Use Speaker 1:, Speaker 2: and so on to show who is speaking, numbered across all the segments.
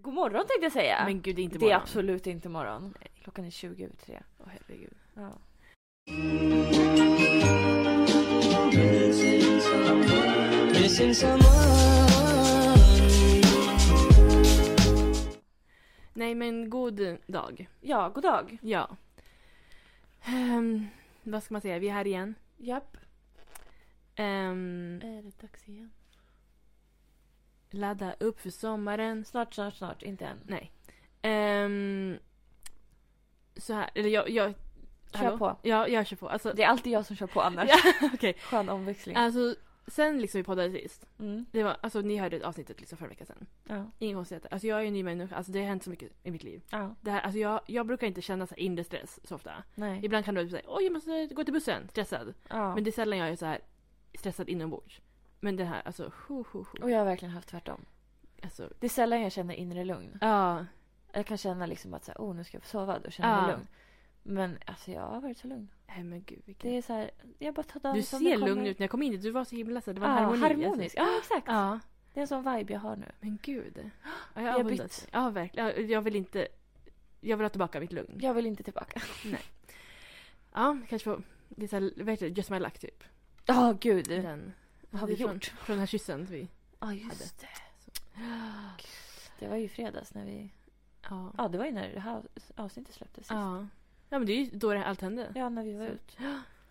Speaker 1: God morgon tänkte jag säga.
Speaker 2: Men gud, det är inte
Speaker 1: det är
Speaker 2: morgon.
Speaker 1: absolut inte morgon.
Speaker 2: Nej.
Speaker 1: Klockan är 20 över tre.
Speaker 2: Åh herregud.
Speaker 1: Ja.
Speaker 2: Nej men god dag.
Speaker 1: ja, god dag.
Speaker 2: Ja. Ehm, vad ska man säga, vi är här igen.
Speaker 1: Japp.
Speaker 2: Ehm,
Speaker 1: Är det dags igen?
Speaker 2: ladda upp för sommaren.
Speaker 1: Mm, Snart, snart, snart. Inte än.
Speaker 2: Nej. Ehm, så här, eller jag... jag
Speaker 1: Kör
Speaker 2: hallå?
Speaker 1: på.
Speaker 2: Ja, jag kör på. Alltså,
Speaker 1: Det är alltid jag som kör på annars.
Speaker 2: Ja, okej.
Speaker 1: Skön omväxling.
Speaker 2: Alltså, sen liksom vi poddade sist.
Speaker 1: Mm.
Speaker 2: Det var, alltså ni hörde avsnittet liksom förra veckan sen.
Speaker 1: Ja.
Speaker 2: Inga konstigheter. Alltså jag är ju en ny människa. Alltså det har hänt så mycket i mitt liv.
Speaker 1: ja.
Speaker 2: Det här, alltså jag, jag brukar inte känna så här inre stress så ofta.
Speaker 1: Nej.
Speaker 2: Ibland kan du typ säga oj jag måste gå till bussen, stressad.
Speaker 1: Ja.
Speaker 2: Men det är sällan jag är så här stressad inombords. Men det här alltså, ho, ho, ho.
Speaker 1: Och jag har verkligen haft tvärtom.
Speaker 2: alltså
Speaker 1: Det är sällan jag känner inre lugn.
Speaker 2: ja.
Speaker 1: Jag kan känna liksom att så här, oh, nu ska jag få sova. Då känner jag
Speaker 2: Ja.
Speaker 1: mig lugn. Men alltså jag har varit så lugn.
Speaker 2: Nej men gud vilken...
Speaker 1: Det är så här, jag bara tar dagen
Speaker 2: Du
Speaker 1: som den
Speaker 2: ser lugn
Speaker 1: kommer.
Speaker 2: ut när jag kom in, du var så himla så här, det var
Speaker 1: ja,
Speaker 2: en harmoni. alltså.
Speaker 1: harmonisk. Ja, exakt.
Speaker 2: Ja.
Speaker 1: Det är en sån vibe jag har nu.
Speaker 2: Men gud. Ja,
Speaker 1: har
Speaker 2: jag avundas.
Speaker 1: bytt.
Speaker 2: Ja verkligen. Ja, Jag vill inte... Jag vill ha tillbaka mitt lugn.
Speaker 1: Jag vill inte tillbaka.
Speaker 2: Ja, kanske få... Det är så här, vad heter det? Just my luck typ.
Speaker 1: Ja, gud. Ja,
Speaker 2: Den.
Speaker 1: Vad har vi
Speaker 2: Det är Från, från den här kyssen vi...
Speaker 1: just det. Det var ju i fredags när vi...
Speaker 2: Ja.
Speaker 1: Ja, det var ju när det här avsnittet släpptes sist.
Speaker 2: Ja. Ja men det är ju då det allt hände.
Speaker 1: Ja, när vi var
Speaker 2: Så. Mm.
Speaker 1: ut.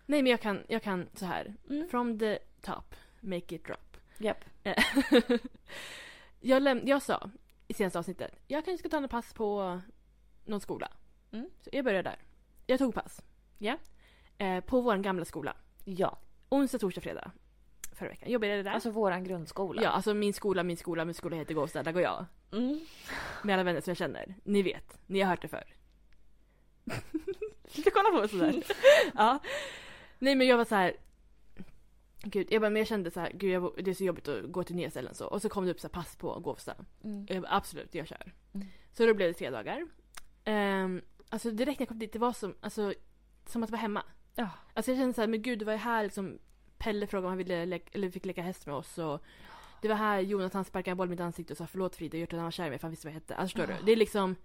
Speaker 2: Nej men jag kan, jag kan så här.
Speaker 1: Mm.
Speaker 2: From the top, make it drop.
Speaker 1: Japp.
Speaker 2: Eh, jag, läm- jag sa i senaste avsnittet, jag kanske ska ta en pass på någon skola.
Speaker 1: Mm.
Speaker 2: Så jag började där. Jag tog pass. Ja. Eh, på vår gamla skola.
Speaker 1: Ja,
Speaker 2: Onsdag, torsdag, fredag. Förra veckan. Jag började där.
Speaker 1: alltså våran grundskola.
Speaker 2: ja, alltså min skola, min skola, min skola heter Gåsta. Där går jag.
Speaker 1: Mm.
Speaker 2: Med alla vänner som jag känner. Ni vet, ni har hört det förr. Sluta kolla på mig sådär. ja. Nej men jag var så här. Gud, jag, bara, men jag kände så här, gud jag, det är så jobbigt att gå till nya ställen så. Och så kom det upp så här, pass på Gåvsta.
Speaker 1: Mm.
Speaker 2: Jag bara, absolut, jag kör.
Speaker 1: Mm.
Speaker 2: Så då blev det tre dagar. Ehm, alltså direkt när jag kom dit, det var som, alltså, som att vara hemma.
Speaker 1: Ja.
Speaker 2: Alltså jag kände så här, men gud det var ju här liksom Pelle frågade om han ville leka, eller fick leka häst med oss och Det var här Jonathan sparkade en boll i mitt ansikte och sa förlåt Frida, jag gjorde att han var kär i mig för han visste vad jag hette. Alltså förstår
Speaker 1: Ah.
Speaker 2: du? Det är liksom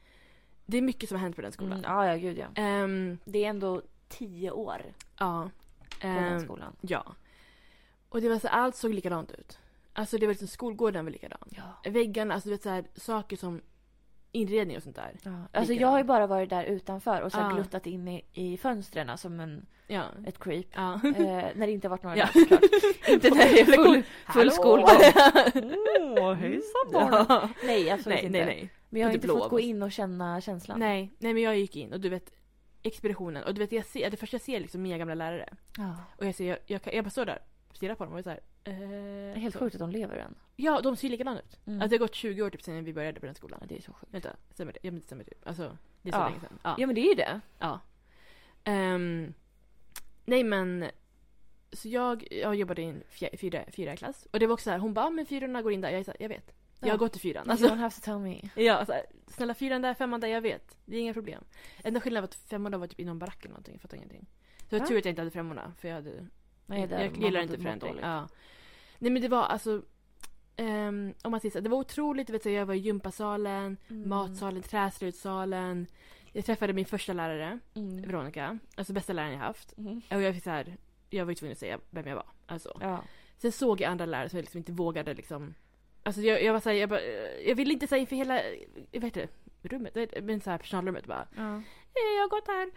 Speaker 2: Det är mycket som har hänt på den skolan.
Speaker 1: Mm. Ja, ja, gud ja.
Speaker 2: Ehm,
Speaker 1: Det är ändå tio år
Speaker 2: ja.
Speaker 1: Mm. på den
Speaker 2: Ehm,
Speaker 1: skolan.
Speaker 2: ja. Och det var så allt såg likadant ut. Alltså det var liksom skolgården var likadan.
Speaker 1: Ja.
Speaker 2: Väggarna, alltså du vet så här, saker som inredning och sånt där.
Speaker 1: Ja. Alltså
Speaker 2: Likadant.
Speaker 1: jag har ju bara varit där utanför och så här
Speaker 2: Ja.
Speaker 1: gluttat in i, i fönstren alltså, som en,
Speaker 2: Ja.
Speaker 1: ett creep.
Speaker 2: Ja.
Speaker 1: eh, när det inte varit några
Speaker 2: Ja.
Speaker 1: där såklart. inte när det är full, full
Speaker 2: Hallå!
Speaker 1: skolgång.
Speaker 2: Åh,
Speaker 1: hejsan
Speaker 2: barn!
Speaker 1: Nej, absolut
Speaker 2: Nej,
Speaker 1: inte.
Speaker 2: nej, nej.
Speaker 1: Men jag har
Speaker 2: Lite
Speaker 1: inte
Speaker 2: blå
Speaker 1: fått
Speaker 2: av
Speaker 1: gå
Speaker 2: oss.
Speaker 1: in och känna känslan.
Speaker 2: Nej, nej men jag gick in och du vet expeditionen och du vet jag ser, det första jag ser är liksom mina gamla lärare
Speaker 1: Ja.
Speaker 2: och jag ser, jag, jag, kan- jag bara står där stirrar på dem och är såhär eh,
Speaker 1: Det är helt
Speaker 2: så.
Speaker 1: sjukt att de lever än.
Speaker 2: Ja, de ser likadana ut.
Speaker 1: Mm.
Speaker 2: Alltså det har gått 20 år typ sedan vi började på den
Speaker 1: Ja,
Speaker 2: skolan.
Speaker 1: det är så sjukt.
Speaker 2: Vänta, stämmer det? Ja men det stämmer typ. Alltså det är så
Speaker 1: Ja.
Speaker 2: länge sedan. Ja.
Speaker 1: Ja men det är ju det.
Speaker 2: ja. Ehm, nej men så jag, jag jobbade i en fjär, fyra, fyra klass och det var också så här, hon bara ah, men fyrorna går in där. Jag är så här, jag vet. Jag
Speaker 1: Ja.
Speaker 2: har gått i fyran.
Speaker 1: Alltså, you
Speaker 2: Alltså,
Speaker 1: don't have to tell me.
Speaker 2: Ja, så här, snälla fyran där, femman där, jag vet. Det är inga problem. Enda skillnaden var att femmorna var typ i någon barack eller någonting, jag fattar ingenting. Så jag
Speaker 1: Va?
Speaker 2: tur att jag inte hade femmorna, för jag, hade,
Speaker 1: Nej, det
Speaker 2: jag gillar
Speaker 1: typ
Speaker 2: inte förändring. Ja. Nej men det var alltså, ehm, om man säger så här, det var otroligt, du vet, så jag var i gympasalen,
Speaker 1: Mm.
Speaker 2: matsalen, träslöjdssalen. Jag träffade min första lärare,
Speaker 1: Mm.
Speaker 2: Veronica, alltså bästa läraren jag haft.
Speaker 1: Mm.
Speaker 2: Och jag fick så här, jag var ju tvungen att säga vem jag var. Alltså.
Speaker 1: Ja.
Speaker 2: Sen såg jag andra lärare som jag liksom inte vågade liksom Alltså jag, jag var såhär, jag, bara, eh, jag ville inte säga inför hela, eh, vad heter det, rummet, eh, men såhär personalrummet bara
Speaker 1: ja.
Speaker 2: "Eh, Jag har gått här.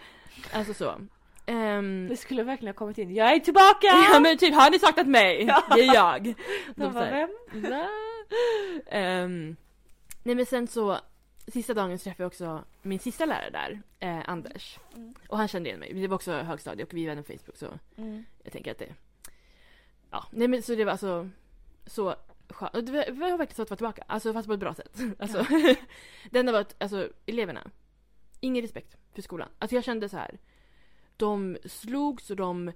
Speaker 2: Alltså så. Ehm,
Speaker 1: Det skulle verkligen ha kommit in. Jag är tillbaka!
Speaker 2: ja men typ, har ni saknat mig? Det är jag.
Speaker 1: De bara,
Speaker 2: De såhär,
Speaker 1: vem?
Speaker 2: Va? Ehm, nej men sen så, sista dagen så träffade jag också min sista lärare där, eh, Anders.
Speaker 1: Mm.
Speaker 2: Och han kände igen mig, det var också högstadie och vi är vänner på Facebook så
Speaker 1: Mm.
Speaker 2: jag tänker att det... Ja, nej men så det var alltså så skönt. Och Det var det var verkligen så att vara tillbaka, alltså fast på ett bra sätt. Alltså, det enda var att alltså, eleverna, ingen respekt för skolan. Alltså jag kände så här. de slogs och de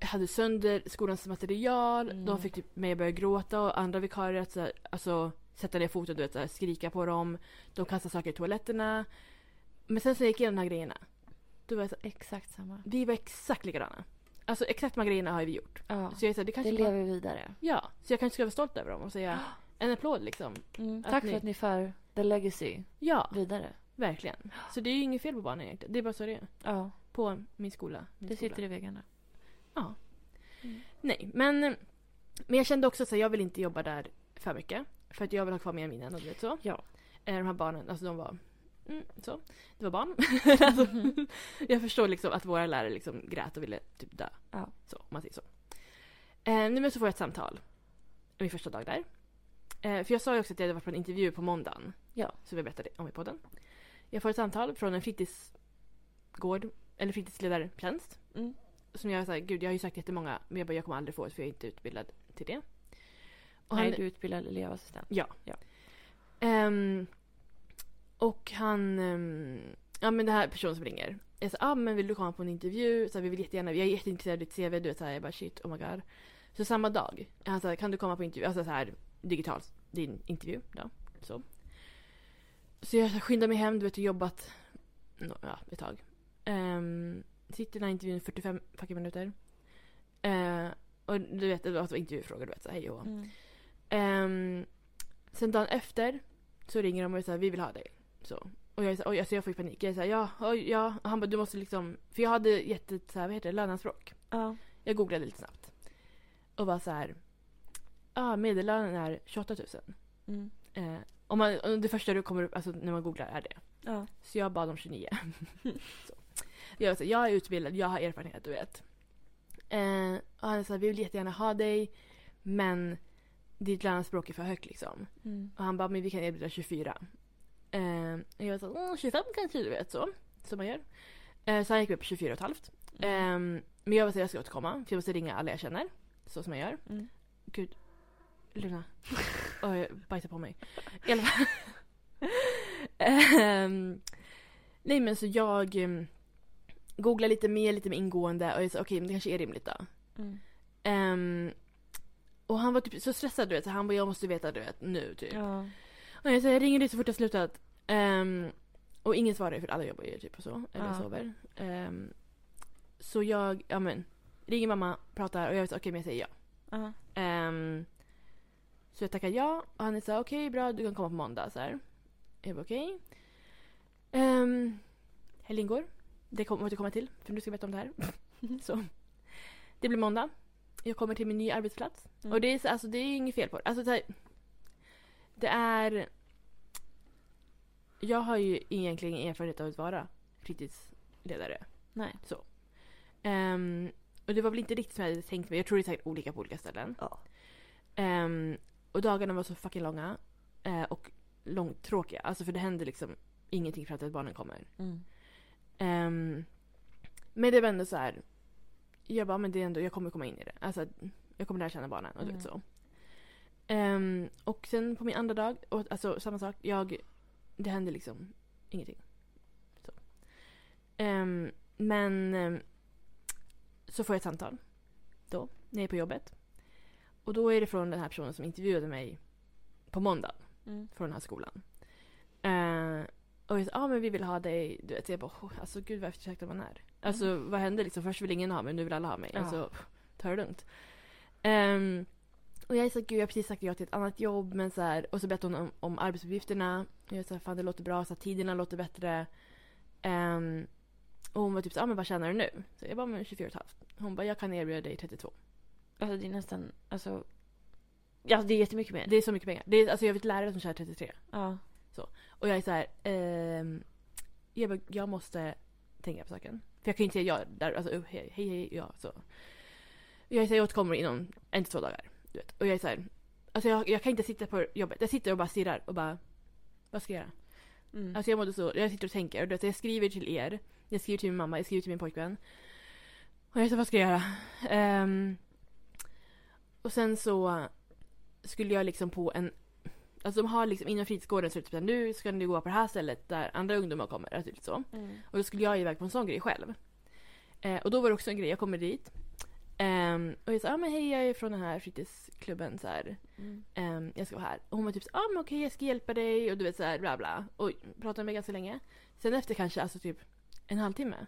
Speaker 2: hade sönder skolans material,
Speaker 1: Mm.
Speaker 2: de fick typ mig att börja gråta och andra vikarier att så här, alltså, sätta ner foten du vet, så här, skrika på dem, de kastade saker i toaletterna. Men sen så gick jag igenom de här grejerna, då var jag så här,
Speaker 1: Exakt samma.
Speaker 2: vi var exakt likadana. Alltså exakt de här grejerna har vi gjort.
Speaker 1: Ja.
Speaker 2: Så jag är såhär, det
Speaker 1: Det
Speaker 2: kanske bara,
Speaker 1: lever vidare.
Speaker 2: Ja, så jag kanske ska vara stolt över dem och säga en applåd liksom.
Speaker 1: Mm. Tack
Speaker 2: ni-
Speaker 1: för att ni för The legacy
Speaker 2: Ja,
Speaker 1: vidare.
Speaker 2: verkligen. Så det är ju inget fel på barnen egentligen. Det är bara så det är.
Speaker 1: Ja,
Speaker 2: På min skola. Min
Speaker 1: det
Speaker 2: skola.
Speaker 1: sitter i väggarna. Mm.
Speaker 2: Nej, men, men jag kände också att så här, jag vill inte jobba där för mycket. För att jag vill ha kvar mina minnen och du vet så.
Speaker 1: Ja.
Speaker 2: Eh, De här barnen, alltså de var... Mm, så. Det var barn. alltså, jag förstår liksom att våra lärare liksom grät och ville typ dö.
Speaker 1: Ja.
Speaker 2: Så, om man säger så. Eh, nu men så får jag ett samtal. Min första dag där. Eh, för jag sa ju också att jag hade varit på en intervju på måndagen.
Speaker 1: Ja.
Speaker 2: Så vi berättade om i podden. Jag får ett samtal från en fritidsgård, eller fritidsledartjänst
Speaker 1: Mm.
Speaker 2: som jag sa, gud jag har ju sagt jättemånga men jag bara jag kommer aldrig få det för jag är inte utbildad till det. Och
Speaker 1: Nej,
Speaker 2: han,
Speaker 1: du är utbildad elevassistent.
Speaker 2: ehm, och han, ehm, ja men den här personen som ringer. Jag sa, ah, men vill du komma på en intervju? Så här, vi vill jättegärna, jag är jätteintresserad av ditt CV. Du vet så här, jag bara shit, oh my god. Så samma dag, han sa, kan du komma på intervju? Alltså så här digitalt, din intervju då. Så. Så jag skyndar mig hem, du vet jag har jobbat nå- ja, ett tag. Ehm, sitter i den här intervjun i 45 fucking minuter. Eh, och du vet, det var alltså intervjufrågor du vet så här, hej och hå.
Speaker 1: Mm.
Speaker 2: Ehm, sen dagen efter så ringer de och säger vi vill ha dig. Så. Och jag, är så, oj, alltså jag får ju panik. Jag är så här, ja, oj, ja. Och han bara du måste liksom. För jag hade gett ett så här, vad heter det, lönanspråk.
Speaker 1: Ja.
Speaker 2: Jag googlade lite snabbt. Och var så här. Ja, medellönen är 28 000.
Speaker 1: Mm.
Speaker 2: Eh, om man, om det första du kommer upp, alltså när man googlar är det.
Speaker 1: Ja.
Speaker 2: Så jag bad om 29. så. Jag, var så, här, jag är utbildad, jag har erfarenhet, du vet. Eh, och han sa vi vill jättegärna ha dig men ditt lärarspråk är för högt liksom.
Speaker 1: Mm.
Speaker 2: Och han bara men vi kan erbjuda 24. Eh, och jag var så här, "Mm, 25 kanske du vet så. Som man gör. Eh, så han gick upp på 24 och ett halvt. Eh, men jag var så här, jag ska återkomma för jag måste ringa alla jag känner. Så som jag gör.
Speaker 1: Mm.
Speaker 2: Gud. Luna. Oj, jag bajsar på mig. I alla fall. Ehm, nej men så jag um, googlar lite mer, lite mer ingående och jag sa okej men det kanske är rimligt då.
Speaker 1: Mm.
Speaker 2: Ehm, och han var typ så stressad du vet, så han bara jag måste veta du vet nu typ.
Speaker 1: Ja.
Speaker 2: Och jag, så jag ringer dig så fort jag slutat. Ehm, och ingen svarar ju för alla jobbar ju typ och så. Eller
Speaker 1: Ja.
Speaker 2: sover. Ehm, så jag, ja men. Ringer mamma, pratar och jag vet okej men jag säger ja.
Speaker 1: Ja.
Speaker 2: Ehm, så jag tackar ja och han är så här, okej bra du kan komma på måndag. Så här. Jag bara okej. Ehm, helgen går. Det kommer jag återkomma till för nu ska jag berätta om det här. så. Det blir måndag. Jag kommer till min nya arbetsplats.
Speaker 1: Mm.
Speaker 2: Och det är, så- alltså, det är inget fel på det. Alltså, så här, det är... Jag har ju egentligen ingen erfarenhet av att vara fritidsledare.
Speaker 1: Nej.
Speaker 2: Ehm, och det var väl inte riktigt som jag hade tänkt mig. Jag tror det är säkert olika på olika ställen.
Speaker 1: Ja.
Speaker 2: Ehm, och dagarna var så fucking långa. eh, och långtråkiga. Alltså för det hände liksom ingenting fram till att barnen kommer.
Speaker 1: Mm.
Speaker 2: Ehm, men det var ändå så här. Jag bara, "Ah, men det är ändå, jag kommer komma in i det. Alltså jag kommer lära känna barnen och du vet
Speaker 1: Mm.
Speaker 2: så. Ehm, och sen på min andra dag, och, alltså samma sak. Jag, det hände liksom ingenting. Så. Ehm, men ehm, så får jag ett samtal. Då, när jag är på jobbet. Och då är det från den här personen som intervjuade mig på måndag
Speaker 1: Mm.
Speaker 2: från den här skolan. Eh, och jag sa, ah, men vi vill ha dig. Du vet, jag bara, oh, alltså gud vad eftersökt man är. Alltså vad hände liksom? Först vill ingen ha mig, nu vill alla ha mig.
Speaker 1: Ja.
Speaker 2: Alltså, ta det lugnt. Ehm, och jag sa, gud jag har precis sagt ja till ett annat jobb. Men så här, och så berättade hon om, om arbetsuppgifterna. Och jag sa, fan det låter bra, så här, tiderna låter bättre. Ehm, och hon var typ så ah, men vad tjänar du nu? Så jag bara, men 24 och ett halvt. Hon bara, jag kan erbjuda dig 32.
Speaker 1: Alltså det är nästan, alltså. Ja, det är jättemycket mer.
Speaker 2: Det är så mycket pengar. Det är, alltså jag vet lärare som tjänar 33.
Speaker 1: Ja.
Speaker 2: Och jag är så här, ehm, jag, bara, jag måste tänka på saken. För jag kan ju inte säga ja där, alltså oh, hej, hej, hej, ja så. Jag är så här, jag återkommer inom en till två dagar. Du vet. Och jag är så här, alltså jag, jag kan inte sitta på jobbet. Jag sitter och bara stirrar och bara, vad ska jag göra?
Speaker 1: Mm.
Speaker 2: Alltså jag mådde så, jag sitter och tänker. Och du vet, jag skriver till er, jag skriver till min mamma, jag skriver till min pojkvän. Och jag är så här, vad ska jag göra? Ehm, och sen så skulle jag liksom på en... Alltså de har liksom inom fritidsgården så är det typ så här, nu ska ni gå på det här stället där andra ungdomar kommer. eller Typ så.
Speaker 1: Mm.
Speaker 2: Och då skulle jag iväg på en sån grej själv. Eh, och då var det också en grej, jag kommer dit. Ehm, och jag sa, ah, men hej jag är från den här fritidsklubben så här.
Speaker 1: Mm.
Speaker 2: Ehm, jag ska vara här. Och hon var typ så ah, men okej jag ska hjälpa dig och du vet så här bla bla. Och pratade med mig ganska länge. Sen efter kanske alltså typ en halvtimme.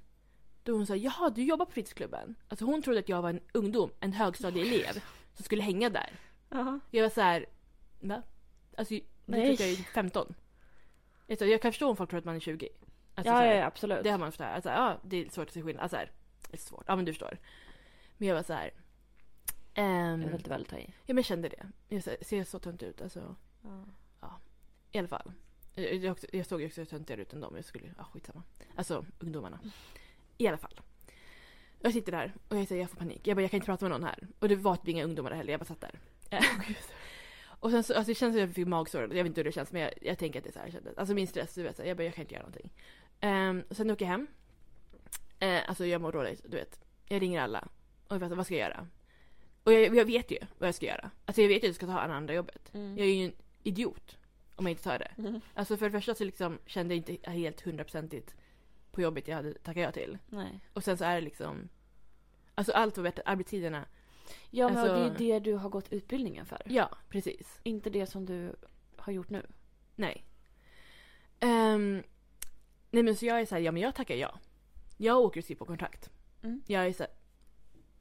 Speaker 2: Då hon sa jaha du jobbar på fritidsklubben. Alltså hon trodde att jag var en ungdom, en högstadieelev som skulle hänga där.
Speaker 1: Ja.
Speaker 2: Jag var så här, va? Alltså du
Speaker 1: Nej.
Speaker 2: tror att jag är 15. Vet du, jag kan förstå om folk tror att man är 20. Alltså, så
Speaker 1: ja,
Speaker 2: här,
Speaker 1: ja, ja, absolut.
Speaker 2: Det har man förstått. Alltså, ja, det är svårt att se skillnad. Alltså, här, det är svårt. Ja, men du förstår. Men jag var så här.
Speaker 1: Det var
Speaker 2: ehm,
Speaker 1: lite väl att ta i.
Speaker 2: ja, men jag kände det. Jag ser- ser så tunt ut. Alltså,
Speaker 1: Ja.
Speaker 2: I alla fall. Jag, jag, jag såg ju också töntigare ut än dem. Jag skulle, ja skitsamma. Alltså ungdomarna. I alla fall. Jag sitter där och jag säger jag får panik. Jag bara jag kan inte prata med någon här. Och det var typ inga ungdomar där heller. Jag bara satt där. Eh. och sen så, alltså det känns som att jag fick magsår. Jag vet inte hur det känns men jag, jag tänker att det är så här det kändes. Alltså min stress, du vet. Så här, jag bara jag kan inte göra någonting. Ehm, sen åker jag hem. Eh, alltså jag mår dåligt, du vet. Jag ringer alla. Och jag vet, vad ska jag göra? Och jag, jag vet ju vad jag ska göra. Alltså jag vet ju att jag ska ta det andra jobbet.
Speaker 1: Mm.
Speaker 2: Jag är ju en idiot om jag inte tar det.
Speaker 1: Mm.
Speaker 2: Alltså för det första så liksom kände jag inte helt hundraprocentigt på jobbet jag hade tackat ja till.
Speaker 1: Nej.
Speaker 2: Och sen så är det liksom... Alltså allt var bättre. Arbetstiderna.
Speaker 1: Ja, men
Speaker 2: Alltså-
Speaker 1: det är ju det du har gått utbildningen för.
Speaker 2: Ja, precis.
Speaker 1: Inte det som du har gjort nu.
Speaker 2: Nej. Ehm, nej men så jag är så här, ja men jag tackar ja. Jag åker och skriver på kontrakt.
Speaker 1: Mm.
Speaker 2: Jag är så här,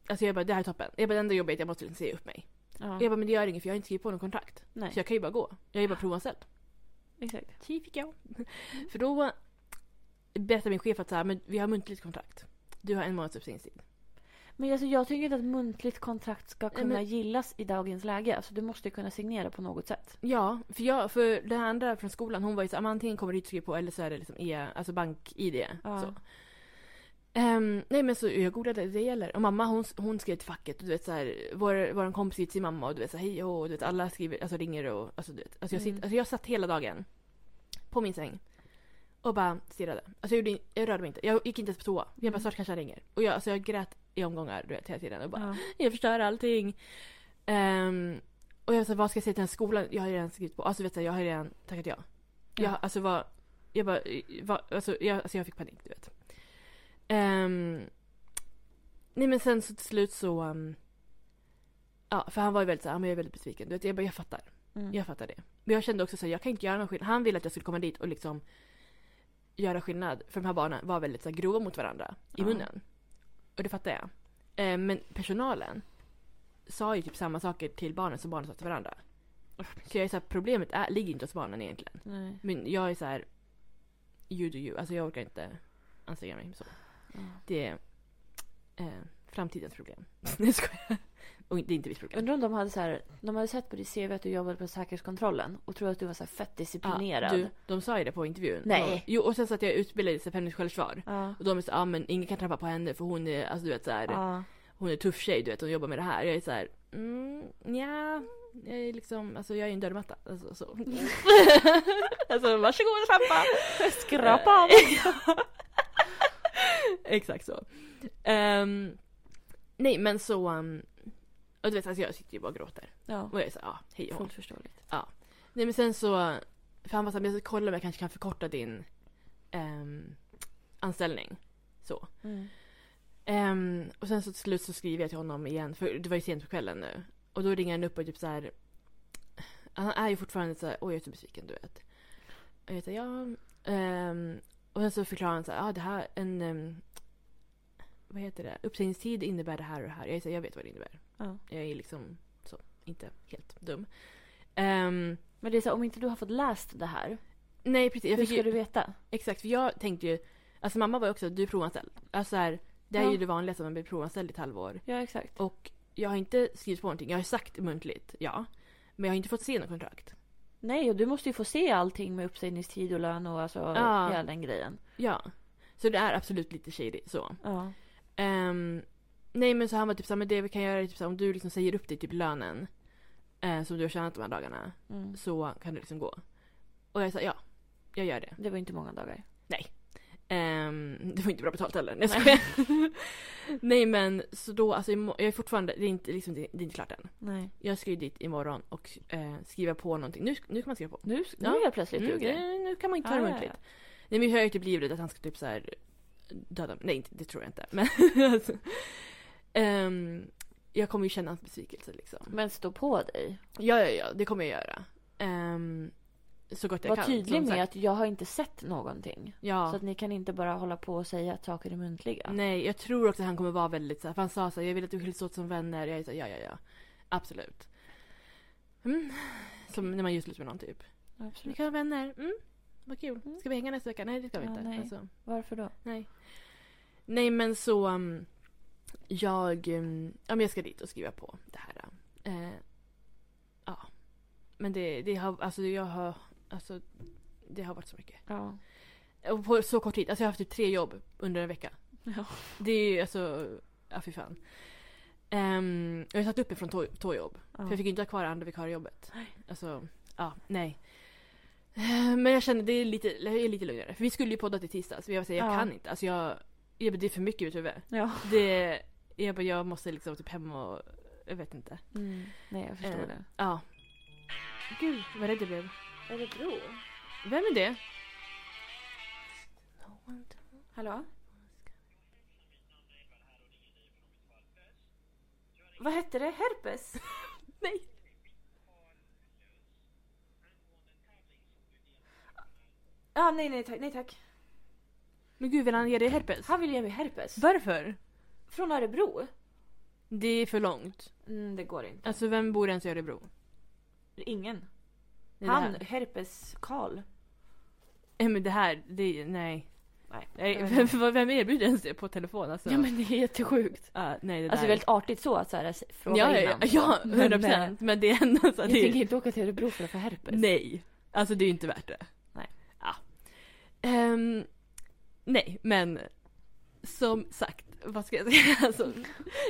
Speaker 2: Alltså jag bara, det här är toppen. Jag bara, det enda jobbet är att jag måste liksom säga upp mig.
Speaker 1: Ja.
Speaker 2: Jag bara, men det gör inget för jag har inte skrivit på någon kontrakt.
Speaker 1: Nej,
Speaker 2: Så jag kan ju bara gå. Jag är bara provanställd.
Speaker 1: exakt.
Speaker 2: Tji fick jag. För då berättade min chef att så här, men vi har muntligt kontrakt. Du har en månads uppsägningstid.
Speaker 1: Men alltså, jag tycker inte att muntligt kontrakt ska
Speaker 2: Nej,
Speaker 1: kunna
Speaker 2: men-
Speaker 1: gillas i dagens läge. Alltså, du måste ju kunna signera på något sätt.
Speaker 2: Ja, för, jag, för den andra från skolan hon var ju så här, "Men antingen kommer du hit och skriver på eller så är det liksom e, alltså bank-id.
Speaker 1: Ja.
Speaker 2: Så. Ehm, nej men så jag googlade det gäller. Och mamma hon, hon skrev till facket och du vet så här, vår, vår kompis skriver till mamma och du vet så här, hej och du vet alla skriver, alltså ringer och alltså du vet. Alltså jag, sitter,
Speaker 1: Mm.
Speaker 2: alltså jag satt hela dagen på min säng och bara stirrade. Alltså jag, gjorde, in- jag rörde mig inte, jag gick inte ens på toa. Jag bara
Speaker 1: Mm.
Speaker 2: snart kanske han ringer. Och jag, alltså jag grät i omgångar du vet hela tiden och bara
Speaker 1: Ja.
Speaker 2: jag förstör allting. Ehm, och jag sa, vad ska jag säga till den här skolan? Jag har ju redan skrivit på. Alltså vet du, jag har ju redan tackat ja. Jag,
Speaker 1: Ja.
Speaker 2: alltså vad, jag bara, vad, alltså, jag, alltså jag fick panik du vet. Ehm, nej men sen så till slut så, um, ja för han var ju väldigt såhär, men jag är väldigt besviken. Du vet, jag bara, jag fattar.
Speaker 1: Mm.
Speaker 2: Jag fattar det. Men jag kände också så här, jag kan inte göra någon skillnad. Han ville att jag skulle komma dit och liksom göra skillnad. För de här barnen var väldigt så här, grova mot varandra i
Speaker 1: Ja.
Speaker 2: munnen. Och det fattar jag. Eh, men personalen sa ju typ samma saker till barnen som barnen sa till varandra. Så jag är så här, problemet är, ligger inte hos barnen egentligen.
Speaker 1: Nej.
Speaker 2: Men jag är så här, you do you. Alltså jag orkar inte anstränga mig så.
Speaker 1: Ja.
Speaker 2: Det är eh, framtidens problem. Nej jag skojar. Och det är inte mitt problem.
Speaker 1: Undrar om de hade, så här, de hade sett på ditt CV att du jobbade på säkerhetskontrollen och trodde att du var så här fett disciplinerad.
Speaker 2: Ja, Ah, du, de sa ju det på intervjun.
Speaker 1: Nej.
Speaker 2: De, jo, och sen så att jag utbildade sig feministiskt självförsvar.
Speaker 1: Ja.
Speaker 2: Och de är så, ah, men ingen kan trampa på henne för hon är, alltså du vet så här,
Speaker 1: Ja.
Speaker 2: hon är tuff tjej, du vet, hon jobbar med det här. Jag är så här, mm, nja, jag är liksom, alltså jag är en dörrmatta. Alltså, så. alltså varsågod och trampa!
Speaker 1: Skrapa av.
Speaker 2: Exakt så. Ehm, nej men så, um, och du vet alltså jag sitter ju bara och gråter.
Speaker 1: Ja.
Speaker 2: Och jag är så här, ah, hej och hå.
Speaker 1: Fullt förståeligt.
Speaker 2: Nej men sen så, för han var såhär, men jag ska kolla om jag kanske kan förkorta din ehm, anställning. Så.
Speaker 1: Mm.
Speaker 2: Ehm, och sen så till slut så skriver jag till honom igen, för det var ju sent på kvällen nu. Och då ringer han upp och typ så här. Han är ju fortfarande så här, oj jag är så besviken du vet. Och jag säger ja. ehm, och sen så förklarar han så här, ja det här en, ehm, vad heter det, uppsägningstid innebär det här och det här. Jag säger jag vet vad det innebär.
Speaker 1: Ja.
Speaker 2: Jag är liksom så, inte helt dum. Ehm,
Speaker 1: Men det är så här, om inte du har fått läst det här,
Speaker 2: nej precis, jag
Speaker 1: hur
Speaker 2: fick
Speaker 1: ska
Speaker 2: ju,
Speaker 1: du veta?
Speaker 2: Exakt, för jag tänkte ju... Alltså mamma var ju också, du är provanställd. Alltså så här, det här är ju
Speaker 1: Ja.
Speaker 2: det vanligaste, att man blir provanställd i ett halvår.
Speaker 1: Ja, exakt.
Speaker 2: Och jag har inte skrivit på någonting. Jag har sagt muntligt, ja. Men jag har inte fått se något kontrakt.
Speaker 1: Nej, och du måste ju få se allting med uppsägningstid och lön och alltså
Speaker 2: Ja.
Speaker 1: hela den grejen.
Speaker 2: Ja. Så det är absolut lite shady så.
Speaker 1: Ja.
Speaker 2: Ehm, nej men så han var typ såhär, men det vi kan göra är typ såhär, om du liksom säger upp dig typ lönen. Eh, som du har tjänat de här dagarna.
Speaker 1: Mm.
Speaker 2: Så kan du liksom gå. Och jag sa ja, jag gör det.
Speaker 1: Det var inte många dagar.
Speaker 2: Ehm, det var inte bra betalt heller. Nej, jag skojar. Nej men så då, alltså imo- jag är fortfarande, det är inte, liksom, det är inte klart än.
Speaker 1: Nej.
Speaker 2: Jag ska ju dit imorgon och eh, skriva på någonting. Nu, nu kan man skriva på.
Speaker 1: Nu, nu
Speaker 2: Ja.
Speaker 1: är jag plötsligt
Speaker 2: Mm,
Speaker 1: Typ ljuger.
Speaker 2: nej, nu kan man inte ta det
Speaker 1: Ah, ja,
Speaker 2: muntligt. Nej men jag är ju typ livrädd att han ska typ så här döda mig. Nej inte- det tror jag inte. Men alltså, ehm, jag kommer ju känna hans besvikelse liksom.
Speaker 1: Men stå på dig.
Speaker 2: Ja ja ja, det kommer jag göra. Ehm, så gott jag
Speaker 1: Var
Speaker 2: kan.
Speaker 1: tydlig
Speaker 2: som
Speaker 1: med att
Speaker 2: sagt.
Speaker 1: jag har inte sett någonting.
Speaker 2: Ja.
Speaker 1: Så att ni kan inte bara hålla på och säga att saker är muntliga.
Speaker 2: Nej, jag tror också att han kommer vara väldigt så här, för han sa så här, jag vill att du skiljs åt som vänner. Jag är så här, ja, ja, ja. Absolut. Mm. Som när man just slut med någon typ. Vi
Speaker 1: Absolut.
Speaker 2: kan vara vänner. Mm. Vad kul.
Speaker 1: Mm.
Speaker 2: Ska vi hänga nästa vecka? Nej, det ska vi
Speaker 1: Ja,
Speaker 2: inte.
Speaker 1: nej.
Speaker 2: Alltså,
Speaker 1: Varför då?
Speaker 2: nej. nej, men så... um, jag, um, ja, men jag ska dit och skriva på det här. eh, ja. Men det, det har... Alltså, jag har... Alltså, det har varit så mycket.
Speaker 1: Ja.
Speaker 2: Och på så kort tid. Alltså jag har haft typ tre jobb under en vecka.
Speaker 1: Ja.
Speaker 2: Det är ju alltså... Ja, fy fan. Ehm, jag har satt upp ifrån två, två jobb. För jag fick ju inte ha kvar andra vikariejobbet.
Speaker 1: Nej.
Speaker 2: Alltså, ja, nej. Eh, Men jag känner det är lite, jag är lite lugnare. För vi skulle ju podda till tisdags. Men jag säger, jag
Speaker 1: Ja.
Speaker 2: kan inte. Alltså jag, jag, bara, det är för mycket i mitt huvud.
Speaker 1: ja.
Speaker 2: Det, jag, bara, jag måste liksom typ hem och... Jag vet inte.
Speaker 1: Mm. Nej, jag förstår
Speaker 2: Eh,
Speaker 1: det.
Speaker 2: Ja. Gud, vad rädd jag blev.
Speaker 1: Örebro?
Speaker 2: Vem är det?
Speaker 1: Hallå? Vad hette det? Herpes?
Speaker 2: Nej.
Speaker 1: Ja, nej, nej tack, nej tack.
Speaker 2: Men gud, vill han ge dig herpes?
Speaker 1: Han vill ge mig herpes.
Speaker 2: Varför?
Speaker 1: Från Örebro?
Speaker 2: Det är för långt.
Speaker 1: Mm, det går inte.
Speaker 2: Alltså vem bor ens i Örebro?
Speaker 1: Ingen.
Speaker 2: Det
Speaker 1: Han,
Speaker 2: här-
Speaker 1: herpes Karl.
Speaker 2: Nej men det här, det, nej.
Speaker 1: Nej.
Speaker 2: nej
Speaker 1: jag vet
Speaker 2: vem,
Speaker 1: inte.
Speaker 2: vem erbjuder ens det på telefon alltså?
Speaker 1: Ja men det är jättesjukt.
Speaker 2: Ja, nej det
Speaker 1: Alltså
Speaker 2: där.
Speaker 1: väldigt artigt så att så här, fråga
Speaker 2: ja, ja,
Speaker 1: innan.
Speaker 2: ja,
Speaker 1: Men,
Speaker 2: 100
Speaker 1: eh,
Speaker 2: procent. Men det är ändå så
Speaker 1: Jag
Speaker 2: att det
Speaker 1: tänker
Speaker 2: är,
Speaker 1: inte åka till Örebro för att få herpes.
Speaker 2: Nej. Alltså det är ju inte värt det.
Speaker 1: Nej.
Speaker 2: Ja. Ehm, nej men. Som sagt, vad ska jag säga? Alltså,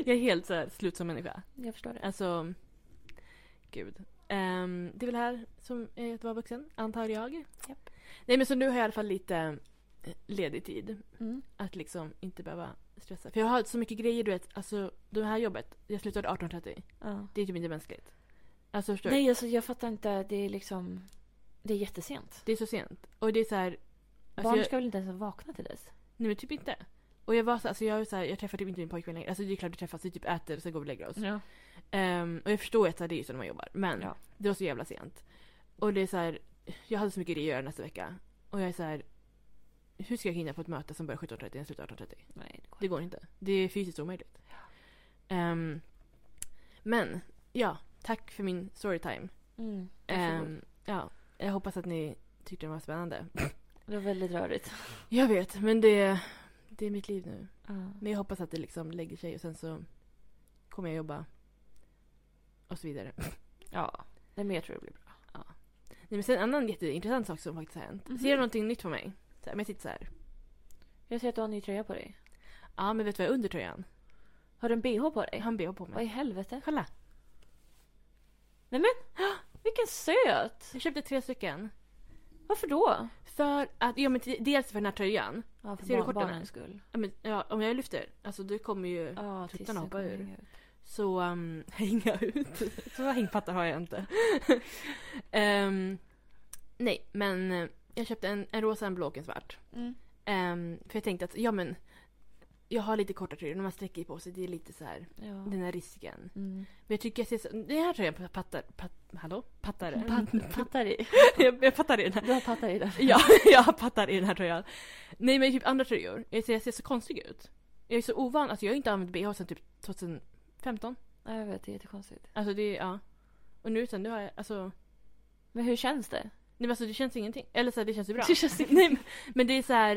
Speaker 2: jag är helt så här, slut som människa.
Speaker 1: Jag förstår det.
Speaker 2: Alltså, gud. Ehm, det är väl här som är att vara vuxen, antar jag.
Speaker 1: Japp.
Speaker 2: Nej men så nu har jag i alla fall lite eh, ledig tid.
Speaker 1: Mm.
Speaker 2: Att liksom inte behöva stressa. För jag har så mycket grejer du vet, alltså det här jobbet, jag slutade 18.30.
Speaker 1: Ja.
Speaker 2: Det är typ inte mänskligt. Alltså förstår du?
Speaker 1: Nej alltså jag fattar inte, det är liksom... Det är jättesent.
Speaker 2: Det är så sent. Och det är så här. Alltså,
Speaker 1: Barn
Speaker 2: jag,
Speaker 1: ska väl inte ens vakna till dess?
Speaker 2: Nej men typ inte. Och jag var så, alltså jag, är så här, jag träffar typ inte min pojkvän längre. Alltså det är klart vi träffas, vi typ äter och sen går vi och lägger oss.
Speaker 1: Ja.
Speaker 2: Ehm, och jag förstår att så här, det är ju så när man jobbar. Men
Speaker 1: Mm. Ja.
Speaker 2: det var så jävla sent. Och det är så här, jag hade så mycket grejer att göra nästa vecka. Och jag är så här, hur ska jag hinna på ett möte som börjar 17.30 och slutar 18.30?
Speaker 1: Nej, det går
Speaker 2: Det går inte. Det är fysiskt omöjligt. Ehm, men, ja. Tack för min storytime.
Speaker 1: Mm.
Speaker 2: Ehm,
Speaker 1: Varsågod.
Speaker 2: ja, jag hoppas att ni tyckte den var spännande.
Speaker 1: Det var väldigt rörigt.
Speaker 2: Jag vet, men det, det är mitt liv nu.
Speaker 1: Ja.
Speaker 2: Men jag hoppas att det liksom lägger sig och sen så kommer jag jobba. Och så vidare.
Speaker 1: ja. Nej men jag tror det blir bra.
Speaker 2: Nej, men sen en annan jätteintressant sak som faktiskt har hänt.
Speaker 1: Mhm.
Speaker 2: Ser du någonting nytt på mig? Så här, men jag sitter så här.
Speaker 1: Jag ser att du har en ny tröja på dig.
Speaker 2: Ja, men vet du vad jag har under tröjan?
Speaker 1: Har du en bh på
Speaker 2: Jag
Speaker 1: dig?
Speaker 2: har en bh på
Speaker 1: Vad i
Speaker 2: mig.
Speaker 1: helvete?
Speaker 2: Kolla!
Speaker 1: Vilken söt!
Speaker 2: Jag köpte tre stycken.
Speaker 1: Varför då?
Speaker 2: För att, ja men t- dels för den här tröjan.
Speaker 1: Ja, för
Speaker 2: Ser du
Speaker 1: bar-
Speaker 2: korten här?
Speaker 1: barnens skull.
Speaker 2: Ja, men, ja, om jag lyfter, alltså det kommer ju
Speaker 1: Ja,
Speaker 2: tuttarna
Speaker 1: tissen
Speaker 2: hoppar
Speaker 1: kommer
Speaker 2: ur.
Speaker 1: hänga ut.
Speaker 2: så um, hänga ut. så hängpatta har jag inte. Ehm, nej, men eh, jag köpte en, en rosa, en blå och en svart. Ehm, för jag tänkte att, ja men, jag har lite korta tröjor. När man sträcker på sig, det är lite så här,
Speaker 1: Ja.
Speaker 2: den här risken.
Speaker 1: Mm.
Speaker 2: Men jag tycker jag ser så, den här tröjan pattar, pat, hallå? Pattare.
Speaker 1: Pat- Mm. pattar i.
Speaker 2: jag, jag pattar i den här.
Speaker 1: Du har pattar i där.
Speaker 2: Ja, jag pattar i den här tröjan. Nej men typ andra tröjor. Jag ser, jag ser så konstig ut. Jag är så ovan, alltså jag har inte använt bh sedan typ 2015.
Speaker 1: Ja, jag vet, det är jättekonstigt.
Speaker 2: Alltså det, ja. Och nu sen, nu har jag, alltså. Nej
Speaker 1: Men hur känns det?
Speaker 2: men alltså det känns ingenting. Eller så här, det känns ju bra.
Speaker 1: Det känns
Speaker 2: nej, men- men det är så här.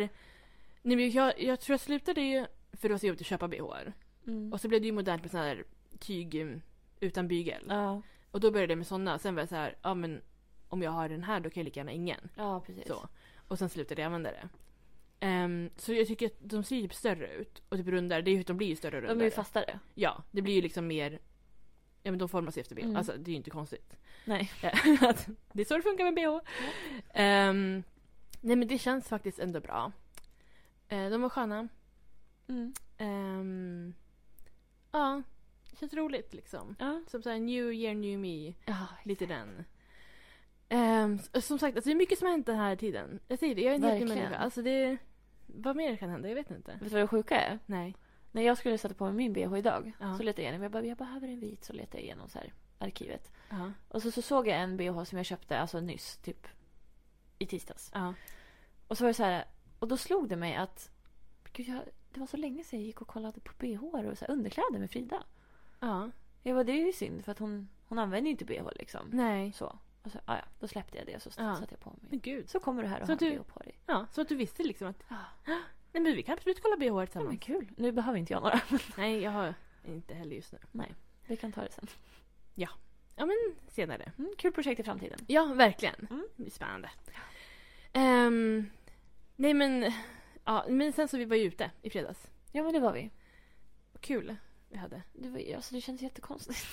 Speaker 2: Nej men jag, jag tror jag slutade ju, för det var så jobbigt att köpa bh.
Speaker 1: Mm.
Speaker 2: Och så blev det ju modernt med sån här tyg um, utan bygel.
Speaker 1: Ja.
Speaker 2: Och då började jag med såna. Sen var jag så här, ja men om jag har den här då kan jag lika gärna ingen.
Speaker 1: ja, precis.
Speaker 2: Så. Och sen slutade jag använda det. Ehm, så jag tycker att de ser typ större ut. Och typ rundare. Det är ju, de blir ju större och
Speaker 1: De
Speaker 2: rundare.
Speaker 1: är ju fastare.
Speaker 2: Ja, det blir ju liksom mer... Ja men de formar sig efter bh.
Speaker 1: Mm.
Speaker 2: Alltså det är ju inte konstigt.
Speaker 1: Nej.
Speaker 2: Att det är så det funkar med bh. Ehm, nej men det känns faktiskt ändå bra. Eh, de var sköna.
Speaker 1: Mm.
Speaker 2: Ehm, ja, det känns roligt liksom.
Speaker 1: Ja.
Speaker 2: Som såhär new year new me.
Speaker 1: ja.
Speaker 2: Lite den. Ehm, s- som sagt, alltså det är mycket som har hänt den här tiden. Jag säger det, jag är en helt ny
Speaker 1: Verkligen.
Speaker 2: människa. Alltså det, vad mer kan hända? Jag vet inte.
Speaker 1: Vet du vad det sjuka är?
Speaker 2: Nej.
Speaker 1: När jag skulle sätta på mig min bh idag
Speaker 2: Ja.
Speaker 1: så letade jag igenom. Jag, bara, jag behöver en vit så letade jag igenom så här, arkivet.
Speaker 2: Ja.
Speaker 1: Och så, så såg jag en bh som jag köpte alltså nyss, typ i tisdags.
Speaker 2: Ja.
Speaker 1: Och så var det så här, och då slog det mig att gud, jag, det var så länge sedan jag gick och kollade på bh och så här, underkläder med Frida.
Speaker 2: ja.
Speaker 1: Jag bara, det är ju synd för att hon, hon använder ju inte bh liksom.
Speaker 2: Nej.
Speaker 1: Så. Och så, ja, ja, då släppte jag det och så
Speaker 2: Ja.
Speaker 1: satte jag på mig.
Speaker 2: Men gud.
Speaker 1: Så kommer du här och
Speaker 2: Så
Speaker 1: har
Speaker 2: du-
Speaker 1: en bh på dig.
Speaker 2: Ja, så att du visste liksom att
Speaker 1: Ja.
Speaker 2: nej men vi kan absolut kolla BH
Speaker 1: Ja, men
Speaker 2: tillsammans.
Speaker 1: kul. Nu behöver inte jag några.
Speaker 2: Nej, jag har inte heller just nu.
Speaker 1: Vi kan ta det sen.
Speaker 2: Ja, men senare.
Speaker 1: Mm, kul projekt i framtiden.
Speaker 2: Ja, verkligen.
Speaker 1: Mm.
Speaker 2: Det är spännande. Ehm, nej men, ja, men sen så vi var ju ute i fredags.
Speaker 1: Ja, men det var vi.
Speaker 2: Vad kul vi hade.
Speaker 1: Det, var, alltså, det kändes jättekonstigt.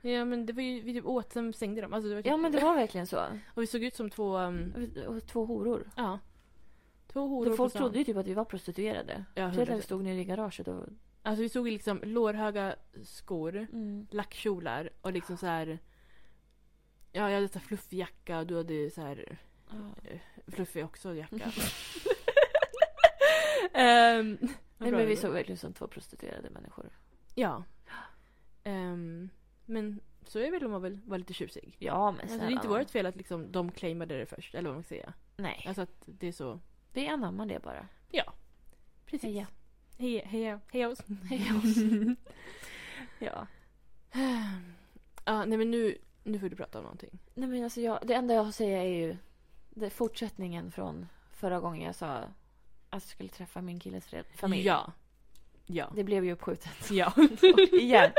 Speaker 2: Ja men det var ju, vi typ åt sen sängde de. Alltså, det var typ,
Speaker 1: Ja, men det var verkligen så.
Speaker 2: Och vi såg ut som två, um,
Speaker 1: Och- Och två horor.
Speaker 2: ja. Två horor
Speaker 1: Då folk
Speaker 2: på stan.
Speaker 1: trodde ju typ att vi var prostituerade.
Speaker 2: Ja,
Speaker 1: Speciellt när vi
Speaker 2: 100%.
Speaker 1: stod nere i garaget och...
Speaker 2: Alltså vi såg ju liksom lårhöga skor,
Speaker 1: Mm.
Speaker 2: lackkjolar och liksom så här. Ja, jag hade så här fluffig jacka och du hade ju så här
Speaker 1: Ja.
Speaker 2: fluffig också jacka. Ehm,
Speaker 1: Nej, men
Speaker 2: bra det
Speaker 1: vi
Speaker 2: var.
Speaker 1: såg verkligen ut som två prostituerade människor.
Speaker 2: Ja. Ehm, men så är väl om man vill vara lite tjusig.
Speaker 1: Ja, men
Speaker 2: Alltså, det är inte vårt fel att liksom, de claimade det först, eller vad man ska säga.
Speaker 1: Nej,
Speaker 2: Alltså att det är så...
Speaker 1: vi anammar det bara.
Speaker 2: Precis.
Speaker 1: Heja.
Speaker 2: Heja, heja, heja oss.
Speaker 1: Heja oss. ja.
Speaker 2: Ja, nej men nu, nu får du prata om någonting.
Speaker 1: Nej, men alltså jag, det enda jag har att säga är ju det, fortsättningen från förra gången jag sa att jag skulle träffa min killes re- familj.
Speaker 2: Ja. Ja.
Speaker 1: Det blev ju uppskjutet.
Speaker 2: Ja.
Speaker 1: Igen.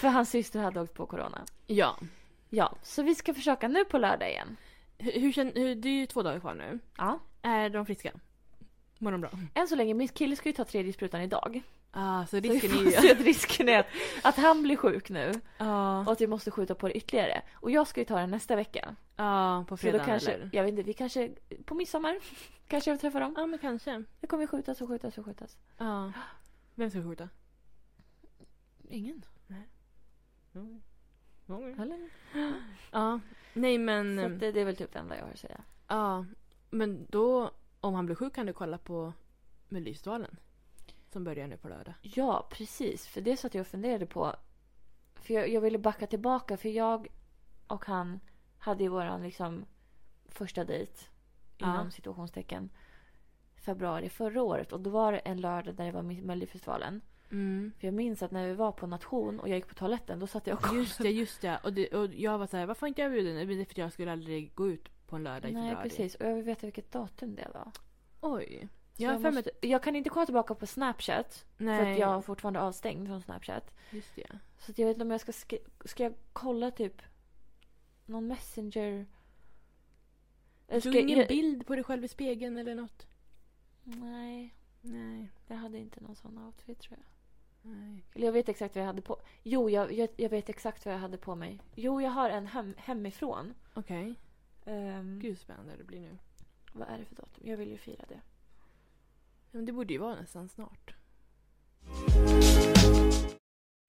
Speaker 1: För hans syster hade åkt på corona.
Speaker 2: ja.
Speaker 1: Ja, så vi ska försöka nu på lördag igen.
Speaker 2: Hur, hur, känn- hur, det är ju två dagar kvar nu.
Speaker 1: Ja.
Speaker 2: Är de friska? Mår de bra?
Speaker 1: Än så länge, min kille ska ju ta tredje sprutan idag.
Speaker 2: Ah, så
Speaker 1: Så vi
Speaker 2: risken
Speaker 1: får
Speaker 2: är ju...
Speaker 1: se att risken är att, att han blir sjuk nu
Speaker 2: Ja,
Speaker 1: och att vi måste skjuta på det ytterligare. Och jag ska ju ta den nästa vecka.
Speaker 2: ja, på
Speaker 1: Så då
Speaker 2: fredag
Speaker 1: kanske,
Speaker 2: eller?
Speaker 1: jag vet inte, vi kanske, på midsommar kanske jag träffar dem.
Speaker 2: Ja, men kanske.
Speaker 1: Det kommer ju skjutas och skjutas och skjutas.
Speaker 2: Ja. Vem ska skjuta?
Speaker 1: Ingen. Eller?
Speaker 2: Ja. Nej men...
Speaker 1: Så att det, det är väl typ det enda jag har att säga.
Speaker 2: Ja, men då om han blir sjuk kan du kolla på Melodifestivalen. Som börjar nu på lördag.
Speaker 1: Ja, precis. För det satt jag och funderade på. För jag, jag ville backa tillbaka för jag och han hade ju våran liksom första dejt
Speaker 2: Ja.
Speaker 1: inom situationstecken februari förra året och då var det en lördag där det var Melodifestivalen.
Speaker 2: Mm.
Speaker 1: För jag minns att när vi var på nation och jag gick på toaletten då satt jag och kollade.
Speaker 2: Just det, just det. Och, det, och jag var så här, varför har inte jag bjuden? Men Det är för att jag skulle aldrig gå ut på en lördag i
Speaker 1: Nej,
Speaker 2: februari.
Speaker 1: precis. Och jag vill veta vilket datum det var.
Speaker 2: Oj.
Speaker 1: Så
Speaker 2: Jag har
Speaker 1: jag,
Speaker 2: för mig
Speaker 1: måste... jag kan inte kolla tillbaka på Snapchat
Speaker 2: Nej,
Speaker 1: för att jag är fortfarande avstängd från Snapchat.
Speaker 2: just det.
Speaker 1: Så att jag vet inte om jag ska... Sk- ska jag kolla typ någon messenger? Eller
Speaker 2: Du
Speaker 1: ska
Speaker 2: tog ingen
Speaker 1: jag...
Speaker 2: bild på dig själv i spegeln eller något?
Speaker 1: Nej,
Speaker 2: Nej.
Speaker 1: jag hade inte någon sån outfit tror jag.
Speaker 2: Nej.
Speaker 1: Eller jag vet exakt vad jag hade på Jo, jag, jag, jag vet exakt vad jag hade på mig. Jo, jag har en hem, hemifrån.
Speaker 2: Okej.
Speaker 1: Mm. Ehm,
Speaker 2: Gud vad spännande det blir nu.
Speaker 1: vad är det för datum? Jag vill ju fira det.
Speaker 2: Ja, Men det borde ju vara nästan snart.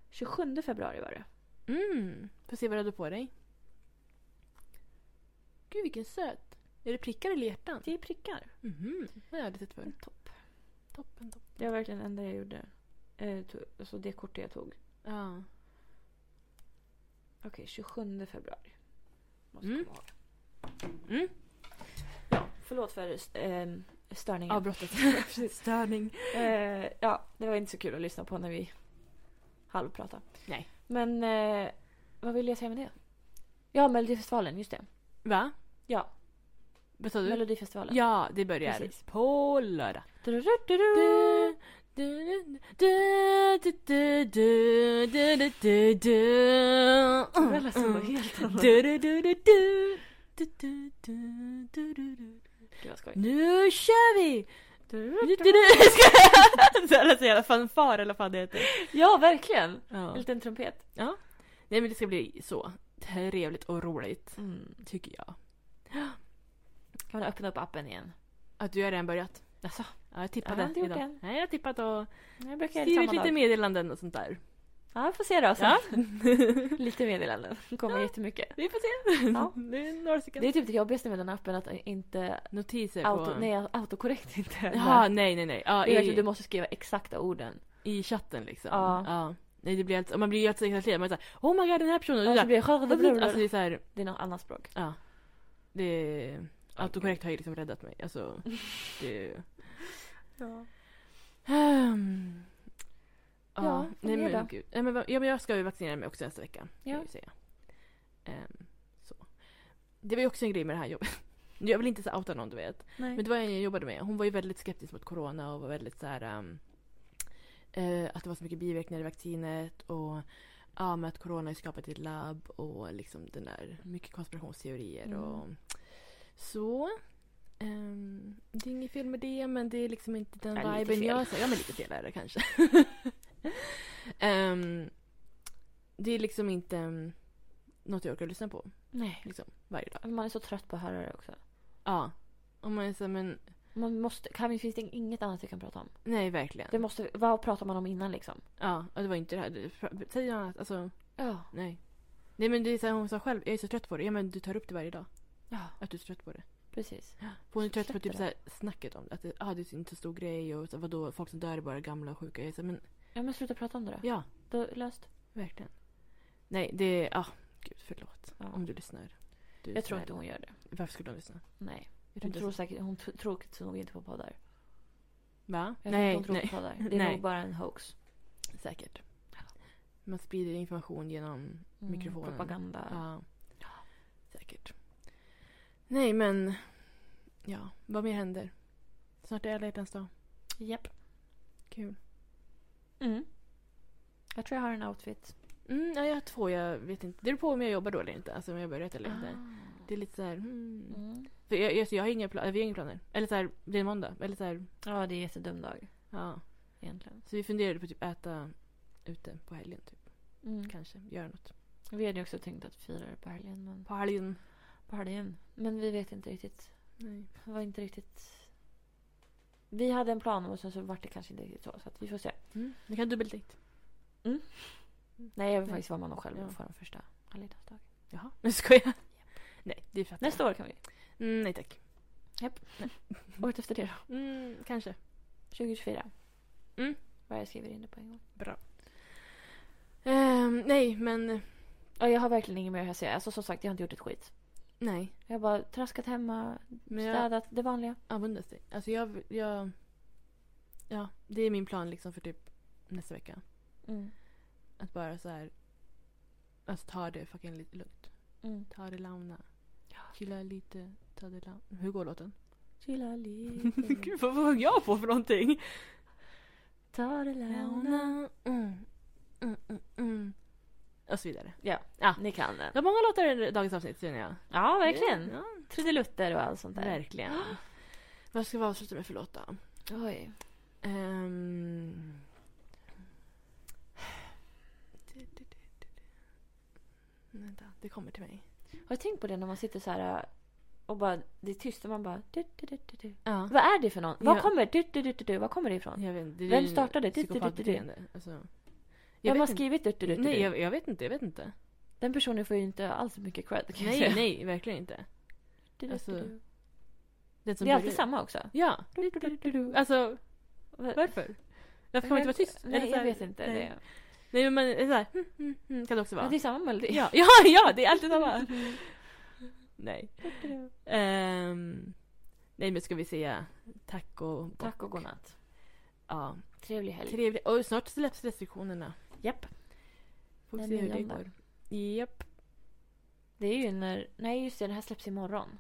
Speaker 1: 27 februari var det.
Speaker 2: Mm. Får se vad du hade på dig. Gud vilken söt. Är det prickar eller hjärtan?
Speaker 1: Det är prickar.
Speaker 2: Mhm, det har jag aldrig sett
Speaker 1: Det är
Speaker 2: förr.
Speaker 1: Topp.
Speaker 2: Toppen, toppen.
Speaker 1: Det var verkligen det enda jag gjorde. Eh, to- alltså det kortet jag tog.
Speaker 2: Ja.
Speaker 1: Okej, 27 februari. Måste
Speaker 2: Mm.
Speaker 1: komma ihåg.
Speaker 2: Mm.
Speaker 1: Förlåt för ehm, störningen.
Speaker 2: Avbrottet. Störning.
Speaker 1: Eh, ja, det var inte så kul att lyssna på när vi halvpratade.
Speaker 2: Nej.
Speaker 1: Men eh, vad ville jag säga med det? Ja, Melodifestivalen, just det.
Speaker 2: Va?
Speaker 1: Ja,
Speaker 2: Vad sa du?
Speaker 1: Melodifestivalen.
Speaker 2: Mm. ja, det börjar liksom.
Speaker 1: Precis.
Speaker 2: på lördag.
Speaker 1: Du-du-du-du-du. Det lät
Speaker 2: Mm,
Speaker 1: som något helt annat. Gud vad skoj.
Speaker 2: Nu kör vi! Det lät som en alltså, jävla fanfar eller vad fan det heter.
Speaker 1: Ja, verkligen.
Speaker 2: Ja.
Speaker 1: En liten trumpet.
Speaker 2: Nej men det ska bli så trevligt och roligt, tycker jag.
Speaker 1: Kan man öppna upp appen igen?
Speaker 2: Att du har redan börjat?
Speaker 1: Jaså?
Speaker 2: Ja, jag
Speaker 1: Jag
Speaker 2: tippade
Speaker 1: har inte gjort
Speaker 2: idag.
Speaker 1: än.
Speaker 2: Nej, jag har tippat och
Speaker 1: Jag brukar göra det
Speaker 2: skrivit
Speaker 1: samma
Speaker 2: lite
Speaker 1: dag.
Speaker 2: meddelanden och sånt där.
Speaker 1: Ja, vi får se då.
Speaker 2: Ja.
Speaker 1: Ja. lite meddelanden. Det kommer jättemycket.
Speaker 2: Vi får se.
Speaker 1: Ja.
Speaker 2: Det är några stycken.
Speaker 1: Det är typ det jobbigaste med den appen, att inte
Speaker 2: Notiser på...
Speaker 1: auto, nej, autokorrekt inte.
Speaker 2: Ja, nej, nej, nej. Ja,
Speaker 1: Det är verkligen, du
Speaker 2: i,
Speaker 1: måste skriva exakta orden.
Speaker 2: I chatten liksom.
Speaker 1: Ja.
Speaker 2: Nej, det blir helt, och man blir ju helt exalterad. Man är såhär oh my god den här personen.
Speaker 1: Ja,
Speaker 2: det,
Speaker 1: så blir
Speaker 2: är
Speaker 1: det-
Speaker 2: alltså det är såhär,
Speaker 1: Det är något annat språk.
Speaker 2: ja. Det... Autokorrekt har ju liksom räddat mig. Alltså, det...
Speaker 1: Ja.
Speaker 2: Ehm. Ja,
Speaker 1: Ja, vad
Speaker 2: nej,
Speaker 1: mer
Speaker 2: men,
Speaker 1: då?
Speaker 2: gud. Nej, men, vad- ja, men jag ska ju vaccinera mig också nästa vecka. kan
Speaker 1: Ja.
Speaker 2: jag ju säga. Ehm, så. det var ju också en grej med det här jobbet. Jag vill inte så outa någon du vet.
Speaker 1: Nej.
Speaker 2: Men det var en jag jobbade med. Hon var ju väldigt skeptisk mot corona och var väldigt så här... ehm, eh, att det var så mycket biverkningar i vaccinet och ja, med att corona är skapat i ett labb och liksom den där mycket konspirationsteorier
Speaker 1: Mm.
Speaker 2: och så. Ehm, det är inget fel med det men det är liksom inte den
Speaker 1: Ja, lite
Speaker 2: viben
Speaker 1: fel.
Speaker 2: jag ser. Ja men lite fel är det kanske. Ehm, det är liksom inte um, något jag orkar lyssna på
Speaker 1: Nej.
Speaker 2: liksom, varje dag.
Speaker 1: Man är så trött på att höra det också.
Speaker 2: Ja. Om man är så här, men
Speaker 1: Man måste, kan, finns det inget annat vi kan prata om?
Speaker 2: nej verkligen.
Speaker 1: Det måste, vad pratar man om innan liksom?
Speaker 2: Ja, och det var inte det här. Det- pra- Säg något annat. Alltså,
Speaker 1: Ja.
Speaker 2: nej. Nej men det är så här, hon sa själv, jag är så trött på det. Ja men du tar upp det varje dag.
Speaker 1: Ja,
Speaker 2: Att du är så trött på det.
Speaker 1: precis.
Speaker 2: För Hon är
Speaker 1: Så
Speaker 2: trött på
Speaker 1: släpper
Speaker 2: typ
Speaker 1: det.
Speaker 2: så här, snacket om det. Att det, ah, det är inte så stor grej och så, vadå, folk som dör är bara gamla och sjuka. Jag är så här, men
Speaker 1: Ja men sluta prata om det då.
Speaker 2: ja,
Speaker 1: Då är det löst.
Speaker 2: verkligen. Nej det, ja, ah, gud förlåt.
Speaker 1: Ja.
Speaker 2: Om du lyssnar. Du är
Speaker 1: Jag tror
Speaker 2: snäll.
Speaker 1: inte hon gör det.
Speaker 2: Varför skulle hon lyssna?
Speaker 1: Nej.
Speaker 2: Jag
Speaker 1: Hon
Speaker 2: inte
Speaker 1: tror säkert, hon t- tror nog inte på poddar.
Speaker 2: Va?
Speaker 1: Jag tror inte
Speaker 2: nej,
Speaker 1: hon tror
Speaker 2: nej.
Speaker 1: på poddar. Det är
Speaker 2: Nej.
Speaker 1: nog bara en hoax.
Speaker 2: Säkert. Man sprider information genom
Speaker 1: Mm,
Speaker 2: mikrofonen.
Speaker 1: Propaganda.
Speaker 2: Ja.
Speaker 1: Ja.
Speaker 2: Säkert. Nej men, ja, vad mer händer? Snart är alla hjärtans dag.
Speaker 1: Japp.
Speaker 2: Kul.
Speaker 1: Mm. Jag tror jag har en outfit.
Speaker 2: Mm, ja, jag har två, jag vet inte. Det beror på om jag jobbar då eller inte. Alltså om jag börjar rätt eller inte. Det är lite så här, hmm.
Speaker 1: Ah. Mm.
Speaker 2: För jag, jag, så jag har inga planer, vi har inga planer. Eller så här, det är måndag. Eller så här,
Speaker 1: Ja, det är en jättedum dag
Speaker 2: ja.
Speaker 1: egentligen.
Speaker 2: Så vi funderade på typ äta ute på helgen typ.
Speaker 1: Mm.
Speaker 2: Kanske, göra något.
Speaker 1: Vi hade ju också tänkt att fira det på helgen. Men,
Speaker 2: På helgen.
Speaker 1: på helgen. men vi vet inte riktigt.
Speaker 2: Nej.
Speaker 1: Det var inte riktigt... Vi hade en plan och sen så vart det kanske inte riktigt så. Så att vi får se.
Speaker 2: Mm. Ni kan dubbeldejt.
Speaker 1: Nej, jag vill
Speaker 2: Nej.
Speaker 1: faktiskt vara med honom själv
Speaker 2: Ja.
Speaker 1: på den första alla hjärtans dag.
Speaker 2: Jaha, nu skojar jag. Nej, det fattar jag.
Speaker 1: Nästa år kan vi.
Speaker 2: Mm, nej tack.
Speaker 1: Året efter det då.
Speaker 2: Mm, kanske.
Speaker 1: 2024.
Speaker 2: Mm.
Speaker 1: Vad jag skriver in det på en gång.
Speaker 2: Ehm, nej, men
Speaker 1: Ja, jag har verkligen inget mer att säga. Alltså som sagt, jag har inte gjort ett skit.
Speaker 2: nej.
Speaker 1: Jag har bara traskat hemma,
Speaker 2: Men jag
Speaker 1: städat, det vanliga.
Speaker 2: användes det. Alltså jag, jag... Ja, det är min plan liksom för typ nästa vecka.
Speaker 1: Mm.
Speaker 2: Att bara så här... Alltså ta det fucking lite lugnt.
Speaker 1: Mm.
Speaker 2: Ta det launa.
Speaker 1: Ja.
Speaker 2: Chilla lite, ta det launa. Hur går låten?
Speaker 1: Chilla lite.
Speaker 2: vad höll jag på för någonting?
Speaker 1: Ta det lugna.
Speaker 2: Launa. Mm. Mm, mm, mm. Och så vidare.
Speaker 1: Ja,
Speaker 2: Ja.
Speaker 1: ni kan den.
Speaker 2: Det var många låtar i dagens avsnitt känner jag.
Speaker 1: Ja, verkligen.
Speaker 2: Ja,
Speaker 1: Trudelutter och allt sånt där.
Speaker 2: verkligen. Vad ska vi avsluta med för låt då?
Speaker 1: Oj.
Speaker 2: Ehm. Vänta, det kommer till mig.
Speaker 1: Har du tänkt på det när man sitter så här äh, och bara, det är tyst och man bara... Du, du, du, du, du.
Speaker 2: Ja.
Speaker 1: Vad är det för någon?
Speaker 2: Ja.
Speaker 1: Vad kommer, du, du, du, du, du, vad kommer det ifrån?
Speaker 2: Jag vet, inte, det är
Speaker 1: Vem
Speaker 2: ju
Speaker 1: startade? Du, du, du, du, du.
Speaker 2: psykopatbeteende, Alltså, jag
Speaker 1: Vem har
Speaker 2: vet inte.
Speaker 1: skrivit du, du, du, du,
Speaker 2: Nej,
Speaker 1: du?
Speaker 2: jag, jag vet inte. Jag vet inte.
Speaker 1: Den personen får ju inte alls mycket cred kan jag
Speaker 2: Nej,
Speaker 1: säga.
Speaker 2: nej, verkligen inte.
Speaker 1: Du, du,
Speaker 2: alltså,
Speaker 1: du, du.
Speaker 2: Den som
Speaker 1: Det är alltid
Speaker 2: börjar-
Speaker 1: samma också.
Speaker 2: Ja.
Speaker 1: Du, du, du, du, du.
Speaker 2: Alltså,
Speaker 1: Vad-
Speaker 2: varför? Varför kan man inte vara tyst? Eller
Speaker 1: Nej,
Speaker 2: så
Speaker 1: jag
Speaker 2: här-
Speaker 1: vet inte.
Speaker 2: Nej,
Speaker 1: Det.
Speaker 2: nej men man är så här, hm, hm, hm, kan det också
Speaker 1: Men
Speaker 2: vara.
Speaker 1: det är samma melodi.
Speaker 2: Ja, ja, ja, det är alltid samma. nej. Ehm, nej men ska vi säga tack och bock.
Speaker 1: Tack och godnatt.
Speaker 2: Ja.
Speaker 1: Trevlig helg.
Speaker 2: Trevligt. Och snart släpps restriktionerna.
Speaker 1: Japp.
Speaker 2: Får vi
Speaker 1: Den
Speaker 2: se hur det
Speaker 1: nionde.
Speaker 2: går. Japp.
Speaker 1: Det är ju när... Nej, just det. Den här släpps imorgon.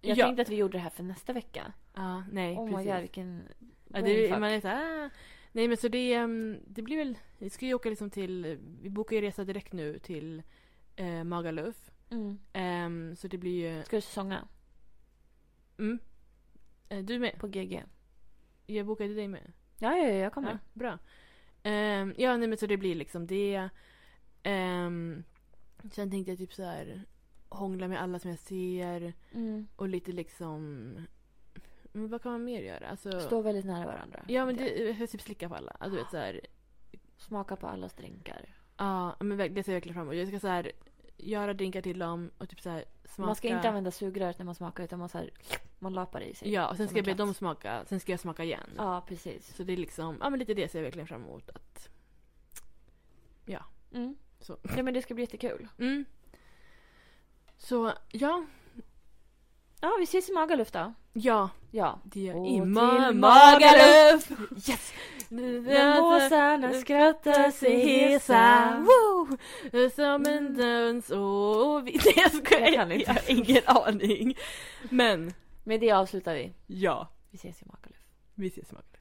Speaker 1: Jag
Speaker 2: Ja.
Speaker 1: tänkte att vi gjorde det här för nästa vecka.
Speaker 2: Ja, nej
Speaker 1: oh my
Speaker 2: precis.
Speaker 1: god, vilken...
Speaker 2: ja, det,
Speaker 1: brainfuck.
Speaker 2: man är så här, ah. Nej men så det, ehm, det blir väl, vi ska ju åka liksom till, vi bokar ju resa direkt nu till eh, Magaluf.
Speaker 1: Mm.
Speaker 2: Ehm, så det blir ju,
Speaker 1: Ska du säsonga
Speaker 2: mm. Eh, du med?
Speaker 1: på GG?
Speaker 2: Jag bokade dig med.
Speaker 1: Ja, ja, ja, jag
Speaker 2: Ja,
Speaker 1: kommer.
Speaker 2: bra. Ehm, ja, nej men så det blir liksom det. Ehm, sen tänkte jag typ så här hångla med alla som jag ser
Speaker 1: Mm.
Speaker 2: och lite liksom... Men vad kan man mer göra? Alltså,
Speaker 1: Stå väldigt nära varandra.
Speaker 2: ja men det, jag ska typ slicka på alla. Alltså, du vet så här,
Speaker 1: Smaka på allas drinkar.
Speaker 2: ja men verk- det ser jag verkligen fram emot. Jag ska så här göra drinkar till dem och typ så här smaka.
Speaker 1: Man ska inte använda sugröret när man smakar utan man, så här, man lapar i sig.
Speaker 2: Ja, och sen
Speaker 1: som en
Speaker 2: ska jag be
Speaker 1: katt.
Speaker 2: dem smaka. Sen ska jag smaka igen.
Speaker 1: Ja, precis.
Speaker 2: Så det är liksom, ja men lite det ser jag verkligen fram emot. Att,
Speaker 1: Mm.
Speaker 2: Så.
Speaker 1: Ja, men det ska bli jättekul.
Speaker 2: mm. Så ja.
Speaker 1: Ja, vi ses i Magaluf då.
Speaker 2: Ja,
Speaker 1: Ja.
Speaker 2: det gör
Speaker 1: Och
Speaker 2: i
Speaker 1: till
Speaker 2: Ma-
Speaker 1: Magaluf!
Speaker 2: Yes!
Speaker 1: När måsarna skrattar sig hesa.
Speaker 2: Woo! Som en dans och vi... Nej jag skojar,
Speaker 1: Jag kan
Speaker 2: Mm. jag,
Speaker 1: inte.
Speaker 2: jag har ingen aning. Men
Speaker 1: Med det avslutar vi.
Speaker 2: ja,
Speaker 1: Vi ses i Magaluf.
Speaker 2: vi ses i Magaluf.